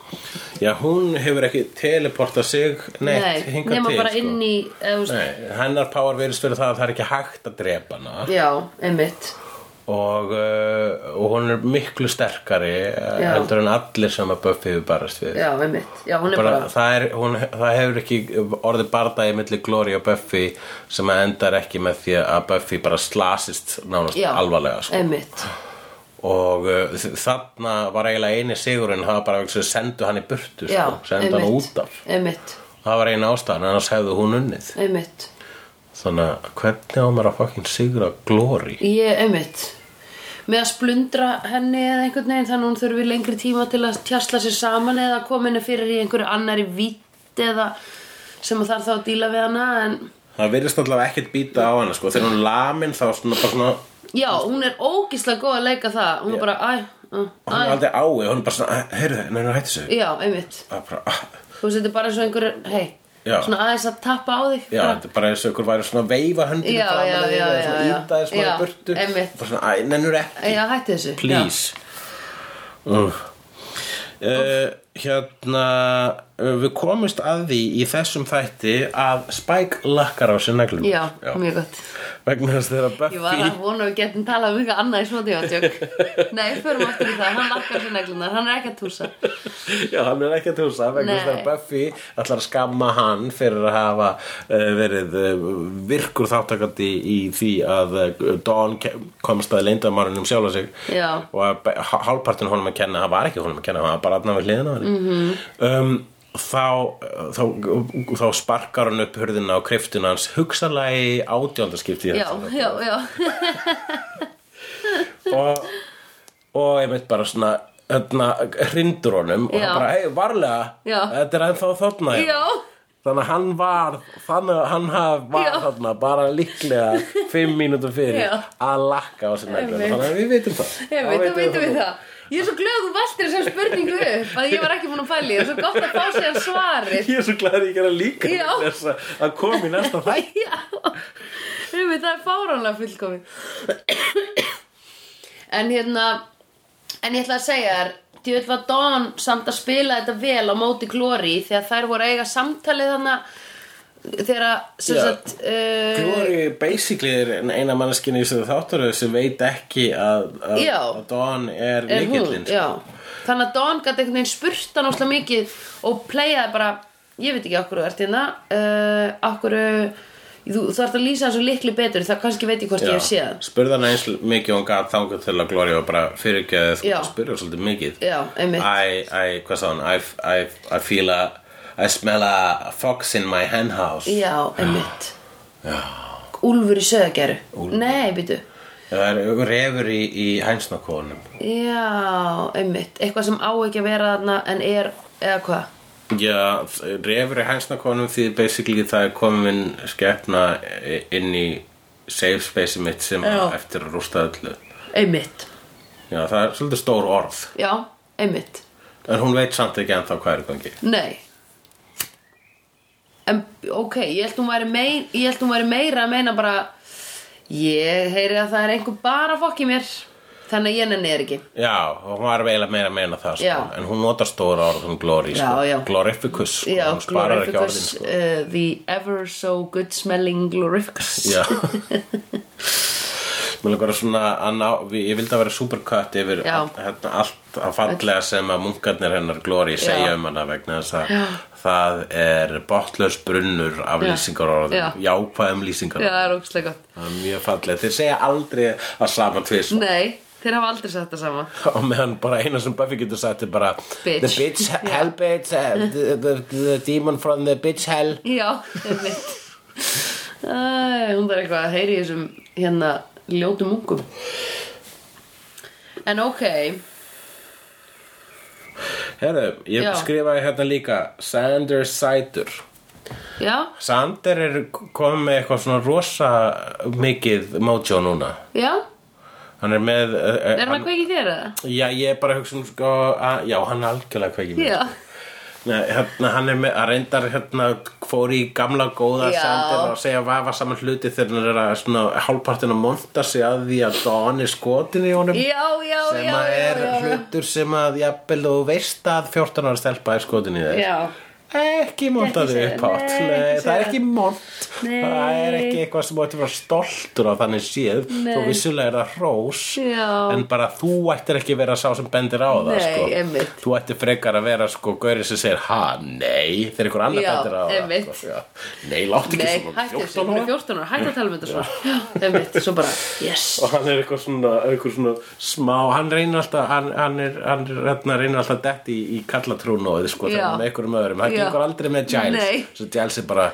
S2: Já, hún hefur ekki teleportað sig neitt
S1: nei,
S2: hingað
S1: nema
S2: til
S1: bara
S2: sko.
S1: inn í eða, þú veist,
S2: Nei, hennar power verðist fyrir það að það er ekki hægt að drepa hana
S1: já, einmitt
S2: og, uh, og hún er miklu sterkari uh,
S1: Já.
S2: heldur en allir sem að Buffy hefur barast við
S1: já, einmitt, já, hún er
S2: bara,
S1: bara,
S2: það, er, hún, það hefur ekki orðið bardagi milli Glory og Buffy sem að endar ekki með því að Buffy bara slasist nánast
S1: já,
S2: alvarlega sko.
S1: einmitt,
S2: og uh, þarna var eiginlega eini sigurinn það var bara að sendu hann í burtu
S1: já,
S2: sko, sendu hann
S1: einmitt
S2: út af
S1: einmitt,
S2: það var eina ástæðan annars hefði hún unnið
S1: einmitt
S2: þannig að hvernig á maður að fucking sigra Glory
S1: Ég, einmitt með að splundra henni eða einhvern veginn þannig að hún þurfi lengri tíma til að tjasla sér saman eða koma henni fyrir í einhverju annari vitt eða sem að þarf þá að díla við hana en
S2: það virðist allavega ekkert býta á hana sko. þegar hún er lamin þá svona, bara svona
S1: já, hún er ógislega góð að leika það hún er bara, æ, uh,
S2: hún er
S1: æ
S2: aldrei ái, hún er bara svona heyrðu, neina hætti sig
S1: já, einmitt
S2: Það er bara, ah.
S1: þú veist, þetta er bara eins og einhverju, hei
S2: Já.
S1: svona aðeins að tappa á þig
S2: Já,
S1: bara,
S2: þetta er bara eins og ykkur væri svona að veifa höndinu
S1: Já,
S2: framan
S1: já,
S2: að þig
S1: já,
S2: eða
S1: já,
S2: svona
S1: já.
S2: íta þér smá
S1: Já,
S2: í burtu
S1: einmitt.
S2: Bara svona, æ, nennur ekki,
S1: já, hætti þessu
S2: please uh. Uh, Hérna uh, Við komumst að því í þessum þætti að Spike lakkar á sér neglum
S1: já, já, mjög gott
S2: Vegna þess þegar
S1: Ég var
S2: Buffy
S1: að vona að við getum talað um eitthvað annað í svona (laughs) tjóðatjók Nei, förum aftur í það, hann lakkar sér neglunar, hann er ekki að túsa
S2: Já, hann er ekki að túsa vegna þess
S1: Nei.
S2: að Buffy ætlar að skamma hann fyrir að hafa uh, verið uh, virkur þáttakandi í því að uh, Dawn ke- komst að leyndamárunum um sjálfa sig
S1: Já.
S2: og að be- há- hálfpartinn honum að kenna, hann var ekki honum að kenna, hann var bara aðna við hliðina á henni
S1: Mhm.
S2: um, þá, þá, þá sparkar hann upp hurðina á kriftuna hans hugsanlega í átjóndaskipti
S1: Já, já, já
S2: og, og ég veit bara svona hérna, hrindur honum og
S1: Já.
S2: hann bara, hei, varlega
S1: Já.
S2: þetta er ennþá þarna hérna."
S1: Já,
S2: þannig að hann var þannig að hann haf- var
S1: Já.
S2: þarna bara líklega fimm mínútur fyrir
S1: Já.
S2: að lakka á sér neglur
S1: Einmitt.
S2: þannig að við veitum það
S1: ég veit, þú veitum við það Ég er svo glöð að þú veltir þessar spurningu upp að ég var ekki búin að pæli, það er svo gott að fá sér svarið
S2: ég er svo glæður ég gera líka
S1: Já.
S2: vegna þess að- að koma í næsta þætt
S1: Já, við veit, það er fáránlega fullkomi En hérna En ég ætla að segja þér Djöld var Dawn samt að spila þetta vel á móti Glory þegar þær voru að eiga samtalið hana þegar að, sem
S2: Já.
S1: sagt, uh,
S2: Glory basically er eina manneskinni í þessu þáttaröðu sem veit ekki að, að,
S1: Já.
S2: að Dawn er,
S1: er hún,
S2: lykillinn sko.
S1: já þannig að Dawn gæti einhvern veginn spurt hann óslega mikið og playaði bara ég veit ekki okkur þú ert hérna uh, okkur þú þarf að lýsa þessu likli betur það kannski veit ég hvort ég hef séð hann.
S2: spurði hann eins mikið og hún gat þangað til að Gloria var bara fyrirgeðið
S1: Já.
S2: þú spurði hann svolítið mikið
S1: Já, einmitt.
S2: I, I, hvað sá hann I, I, I feel a I smell a fox in my hen house
S1: já, einmitt Úlfur í söðageru nei, býtu
S2: það er refur í, í hænsnakónum
S1: já, einmitt, eitthvað sem á ekki að vera þarna en er, eða hvað
S2: já, refur í hænsnakónum því basically það er komin skepna inn í safe space mitt sem
S1: Já.
S2: á eftir að rústa öllu
S1: einmitt,
S2: já, það er svolítið stór orð
S1: já, einmitt
S2: en hún veit samt ekki ennþá hvað er í gangi
S1: Nei En ok, ég held hún væri, mein, ég held hún væri meira að meina bara Ég heyri að það er einhver bara fokk í mér Þannig að ég nenni þér ekki
S2: Já, og hún var eiginlega meira að meina það sko.
S1: Já.
S2: en hún notar stóra orð um glory sko.
S1: Já, já.
S2: glorificus, sko.
S1: Já,
S2: hún sparar ekki
S1: glorificus
S2: orðin sko.
S1: uh, The ever so good smelling glorificus
S2: sko.
S1: (laughs)
S2: Já Mér langar að svona að ná, við- ég vildi að vera supercut yfir
S1: Já.
S2: all, hérna, allt að fallega sem að munkarnir hennar glory segja um hana vegna þess að það er botlaus brunnur af
S1: Já.
S2: lýsingarorðum,
S1: Já.
S2: jákvæðum
S1: Já,
S2: lýsingarorðum
S1: það er ókslega gott
S2: Það er mjög fallega, þeir segja aldrei að sama tvis
S1: Nei, þeir hafa aldrei sagt það sama
S2: (laughs) og meðan bara eina sem Buffy getur sagt er bara
S1: Bitch.
S2: the bitch hell bitch uh,
S1: (laughs)
S2: the, the, the demon from the bitch hell
S1: Já, einmitt Æ, Hún þarf eitthvað að heyri í þessum hérna ljótu mungum En ok
S2: herru, ég
S1: Já.
S2: skrifaði hérna líka Sander Sider
S1: Já,
S2: Sander er komið með eitthvað svona rosa mikið mojo núna
S1: já
S2: hann er með uh, uh,
S1: Er hann að kveiki þér eða?
S2: já, ég er bara að hugsa um sko að, já, hann er algjörlega kveikið mér.
S1: Já,
S2: Nei, hérna, hann er með að reyndar hérna, fór í gamla góða
S1: Já.
S2: sendir og segja vafa saman hluti þegar hann er að svona, hálfpartin að monta sig að því að Don er skotin í honum
S1: já, já,
S2: sem
S1: já,
S2: að er
S1: já, já,
S2: hlutur sem að jafnvel þú veist að 14 ára stelpa er skotin í þér
S1: já.
S2: ekki montaði
S1: segja-
S2: upp átt
S1: nei, ekki
S2: Nei, það er
S1: segja.
S2: ekki mont
S1: Nei.
S2: það er ekki eitthvað sem þú ætti að vera stoltur á þannig séð
S1: Nei.
S2: þú vissulega er það rós
S1: Já.
S2: en bara þú ættir ekki vera sá sem bendir á það
S1: Nei,
S2: sko.
S1: einmitt.
S2: þú ættir frekar að vera sko gaurið sem segir ha, nei þegar einhver annar
S1: Já,
S2: bendir á
S1: einmitt.
S2: það sko. Já. nei, látt ekki
S1: Nei,
S2: svona
S1: hætti þessu,
S2: 14
S1: hún
S2: ára.
S1: er 14 ára, hætti að tala um þetta svona Einmitt, svo bara, yes
S2: og hann er eitthvað svona, eitthvað svona smá, hann reynir alltaf hann, hann, er, hann er, hérna, reynir alltaf dett í, í kallatrúnóði sko,
S1: Já.
S2: þegar hann er með einhverjum öðrum hann
S1: Já.
S2: gengur aldrei með Giles
S1: Nei. Ah.
S2: svo Giles er bara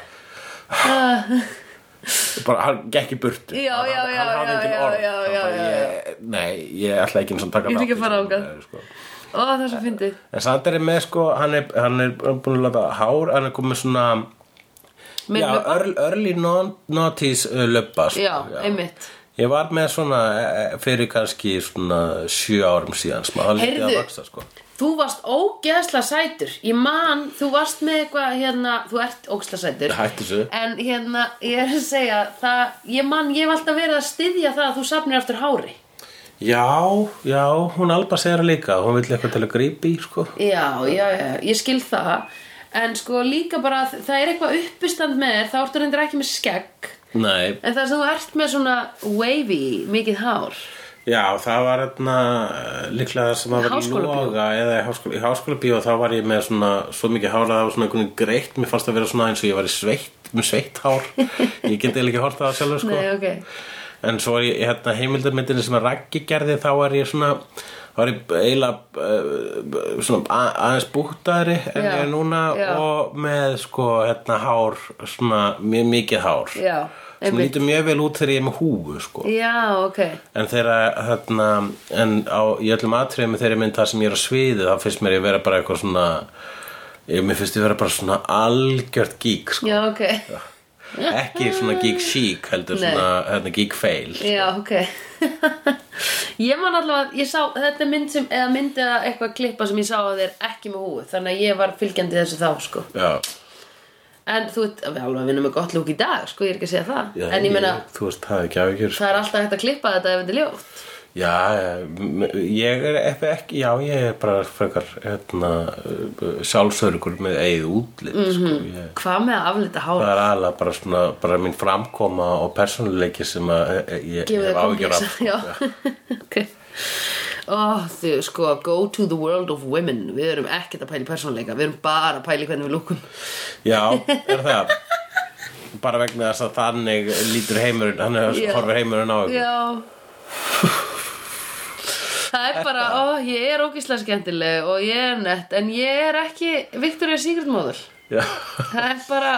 S2: bara, hann gekk í burtu
S1: Já,
S2: hann,
S1: já, já,
S2: hann hafði
S1: já,
S2: engin
S1: já,
S2: orð
S1: já,
S2: Hann
S1: já,
S2: bara,
S1: já,
S2: ég, nei, ég ætla ekki eins og taka
S1: Ég vil
S2: þátt
S1: ekki
S2: í
S1: fara
S2: þessu
S1: þangað.
S2: umræðu, sko.
S1: Ó, það er svo fyndið
S2: en Sander er með sko, hann er, hann er búin að láta hár, hann er komið svona
S1: Með
S2: já,
S1: löbba.
S2: early, early non- noughties uh, löbba sko,
S1: Já, einmitt
S2: Ég var með svona eh, eh, fyrir kannski svona sjö árum síðan sem að það lítið að
S1: Heyrðu.
S2: vaksa sko.
S1: Þú varst ógeðsla sætur Ég man, þú varst með eitthvað hérna Þú ert ógeðsla sætur
S2: Hættu þessu.
S1: En hérna, ég er að segja það, Ég man, ég hef alltaf verið að styðja það að þú safnir eftir hári
S2: Já, já, hún Alba segir það líka, hún vill eitthvað til að grípi í sko.
S1: Já, já, já, ég skil það En sko líka bara að það er eitthvað uppistand með þér Þá ertu reyndir ekki með skegg
S2: Nei,
S1: En það sem þú ert með svona wavy, mikið hár
S2: já, það var hérna eh, líklega það sem að var í
S1: Háskólabíó.
S2: loga eða í háskóla, í háskóla bíó þá var ég með svona svo mikið hár að það var svona einhvern veginn greitt, mér fannst það vera svona eins og ég var í sveitt, með sveitt
S1: (laughs)
S2: hár, ég geti eiginlega ekki horta það sjálfur sko.
S1: Nei, ok
S2: En svo í hérna, heimildarmyndinni sem að Raggi gerði þá var ég svona þá var ég eiginlega uh, svona a- aðeins búttaðri en
S1: Já,
S2: ég er núna
S1: já.
S2: og með sko hérna hár svona mjög mikið hár
S1: Já,
S2: sem
S1: einmitt
S2: lítur mjög vel út þegar ég er með húfu sko
S1: Já, ok
S2: en þegar hérna en á, í öllum atriðum þegar ég mynd það sem ég er á sviði þá finnst mér ég vera bara eitthvað svona ég, mér finnst ég vera bara svona algjört gík
S1: (laughs)
S2: sko
S1: Já, ok
S2: ekki svona gík sík heldur
S1: Nei.
S2: svona hérna, gík feil
S1: Já, (laughs) ok Ég man allavega, ég sá, þetta er mynd sem eða myndi eða eitthvað klippa sem ég sá að þér ekki með húið Þannig að ég var fylgjandi þessu þá, sko
S2: Já.
S1: En þú ert alveg alveg að vinna með gott lúk í dag, sko, ég er ekki að segja það
S2: Já,
S1: En ég meina,
S2: Þú veist, það er ekki áhyggjur
S1: það er alltaf hægt að klippa þetta ef þetta er ljótt
S2: Já, m- ég er ef ekki, já, ég er bara frekar hérna, sjálfsörugur með eigið útlit,
S1: Mhm.
S2: sko, ég,
S1: Hvað með að aflita hár?
S2: það er aðalega bara svona, bara mín framkoma og persónuleiki sem að eh, eh, ég
S1: Gefur
S2: hef
S1: þér
S2: ágjör af, sko,
S1: komplexa, Já, (laughs) ok Ó, þau, sko, go to the world of women Við erum ekkert að pæli persónleika Við erum bara að pæli hvernig við lúkum
S2: já, er það, bara vegna þess að þannig lítur heimurinn, hann er
S1: Já.
S2: horfir heimurinn á ykkur,
S1: Já Það er bara, ó, ég er ógislega skemmtileg og ég er nett En ég er ekki Victoria Secret model
S2: já,
S1: Það er bara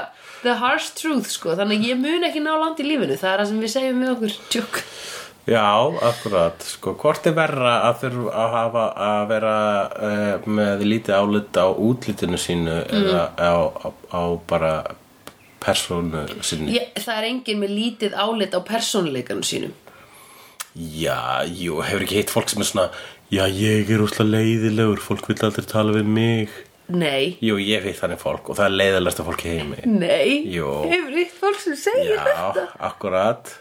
S1: the harsh truth, sko Þannig að ég mun ekki ná langt í lífinu Það er það sem við segjum við okkur Tjók
S2: já, akkurat, sko, hvort er verra að þurfa að hafa að vera uh, með lítið álit á útlitinu sínu
S1: Mm.
S2: eða á, á, á bara persónu sinni?
S1: ég, Það er enginn með lítið álit á persónuleikanum sínum
S2: Já, jú, hefur ekki hitt fólk sem er svona Já, ég er úslega leiðilegur, fólk vil aldrei tala við mig
S1: Nei
S2: Jú, ég hef hitt þannig fólk og það er leiðilegasta fólk í heimi
S1: (laughs) Nei,
S2: Jú.
S1: hefur eitt fólk sem segir
S2: Já,
S1: það
S2: akkurat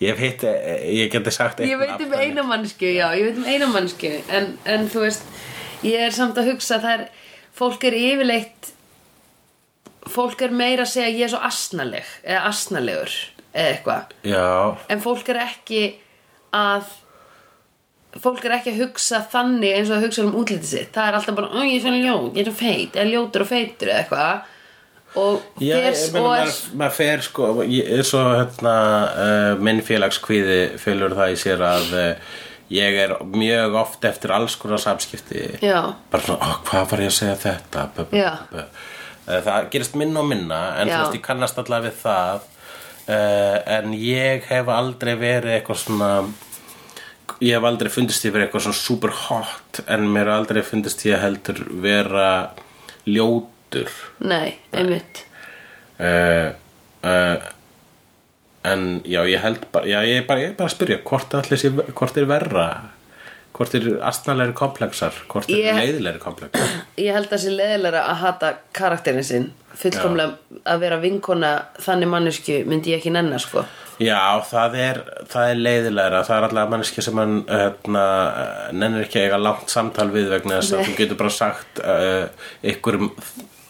S2: Ég hef hitt, eh, ég geti sagt eitt
S1: Ég veit um
S2: nafn
S1: eina mannsku, já, ég veit um eina mannsku en, en þú veist, ég er samt að hugsa það er, fólk er yfirleitt fólk er meira að segja ég er svo asnaleg eða asnalegur eða eitthvað
S2: þannig. Já,
S1: en fólk er ekki að fólk er ekki að hugsa þannig eins og að hugsa um útlitið sitt það er alltaf bara, "Ó, ég er svona ljón, ég er svo feit eða ljótur og feitur eða eitthvað og
S2: Já, ég
S1: fers
S2: meina,
S1: og er
S2: maður, maður fer sko, ég er svo hérna, uh, minn félagskvíði fylgur það í sér að uh, ég er mjög oft eftir alls konar samskipti
S1: Já.
S2: bara svona, "Ó, hvað var ég að segja þetta b
S1: Já.
S2: Eh, það gerist minna og minna en þú
S1: Já.
S2: veist, ég kannast allavega við það uh, en ég hef aldrei verið eitthvað svona ég hef aldrei fundist ég verið eitthvað svona super hot en mér hef aldrei fundist ég heldur vera ljótur
S1: nei, einmitt
S2: uh, uh, en já ég held bara, já, ég er bara, ég er bara að spyrja hvort, allir sé, hvort er verra hvort er astnalegri komplexar hvort er
S1: Ég-
S2: yeah. leiðilegri komplexar
S1: Ég held að það sé leðilega að hata karakterin sinn fullkomlega að vera vinkona þannig mannesku myndi ég ekki nennar sko
S2: já það er, það er leiðilegra það er allavega manneskja sem hann hérna, nennir ekki að eiga langt samtal við vegna þess að
S1: Nei.
S2: þú getur bara sagt uh, ykkurum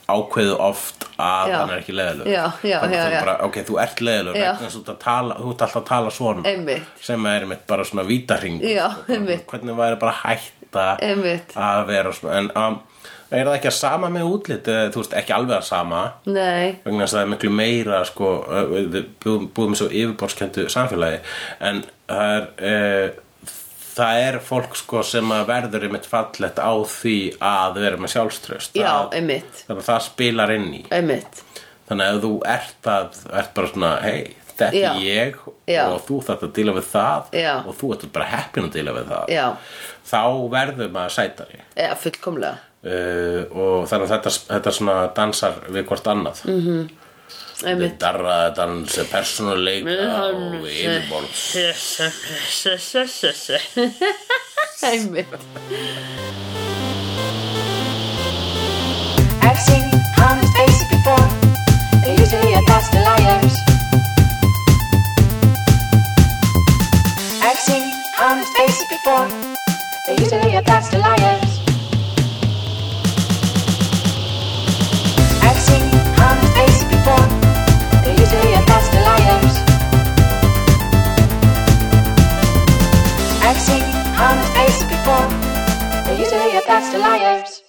S2: ákveðu oft að
S1: Já.
S2: hann er ekki leiðilegur
S1: Já, já,
S2: Þannig
S1: já,
S2: þú
S1: já.
S2: bara, ok, þú ert leiðilegur
S1: Já.
S2: vegna þess að þú ert að tala- þú ert alltaf að tala svona
S1: Einmitt.
S2: sem er mitt bara svona vítarring
S1: Já,
S2: Bara,
S1: einmitt.
S2: hvernig væri bara að hætta
S1: Einmitt.
S2: að vera svona en um, er það ekki að sama með útlit Eh, þú veist ekki alveg að sama
S1: Nei,
S2: vegna þess að það er miklu meira sko, eh, við búum, búum í svo yfirborðskendu samfélagi en það er uh, það er fólk sko sem að verður einmitt fallegt á því að vera með sjálfströst
S1: já,
S2: það,
S1: einmitt
S2: þannig að það spilar inn í
S1: einmitt,
S2: þannig að ef þú ert að ert bara svona, hei, þetta
S1: Já.
S2: er ég
S1: Já.
S2: og þú þarft að díla við það
S1: Já.
S2: og þú ert bara heppin að díla við það
S1: Já.
S2: þá verður maður sætari
S1: eða fullkomlega
S2: uh, og þannig að þetta, þetta svona dansar við hvort annað mm -hmm.
S1: einmitt
S2: darraða dans, persónuleika og yfirborðs
S1: einmitt
S4: I've seen honest faces before. They're usually a pass to liars. I've seen honest faces before. They're usually a pass to liars. I've seen honest faces before. They're usually a pass to liars. I've seen honest faces before. They're usually a pass to liars.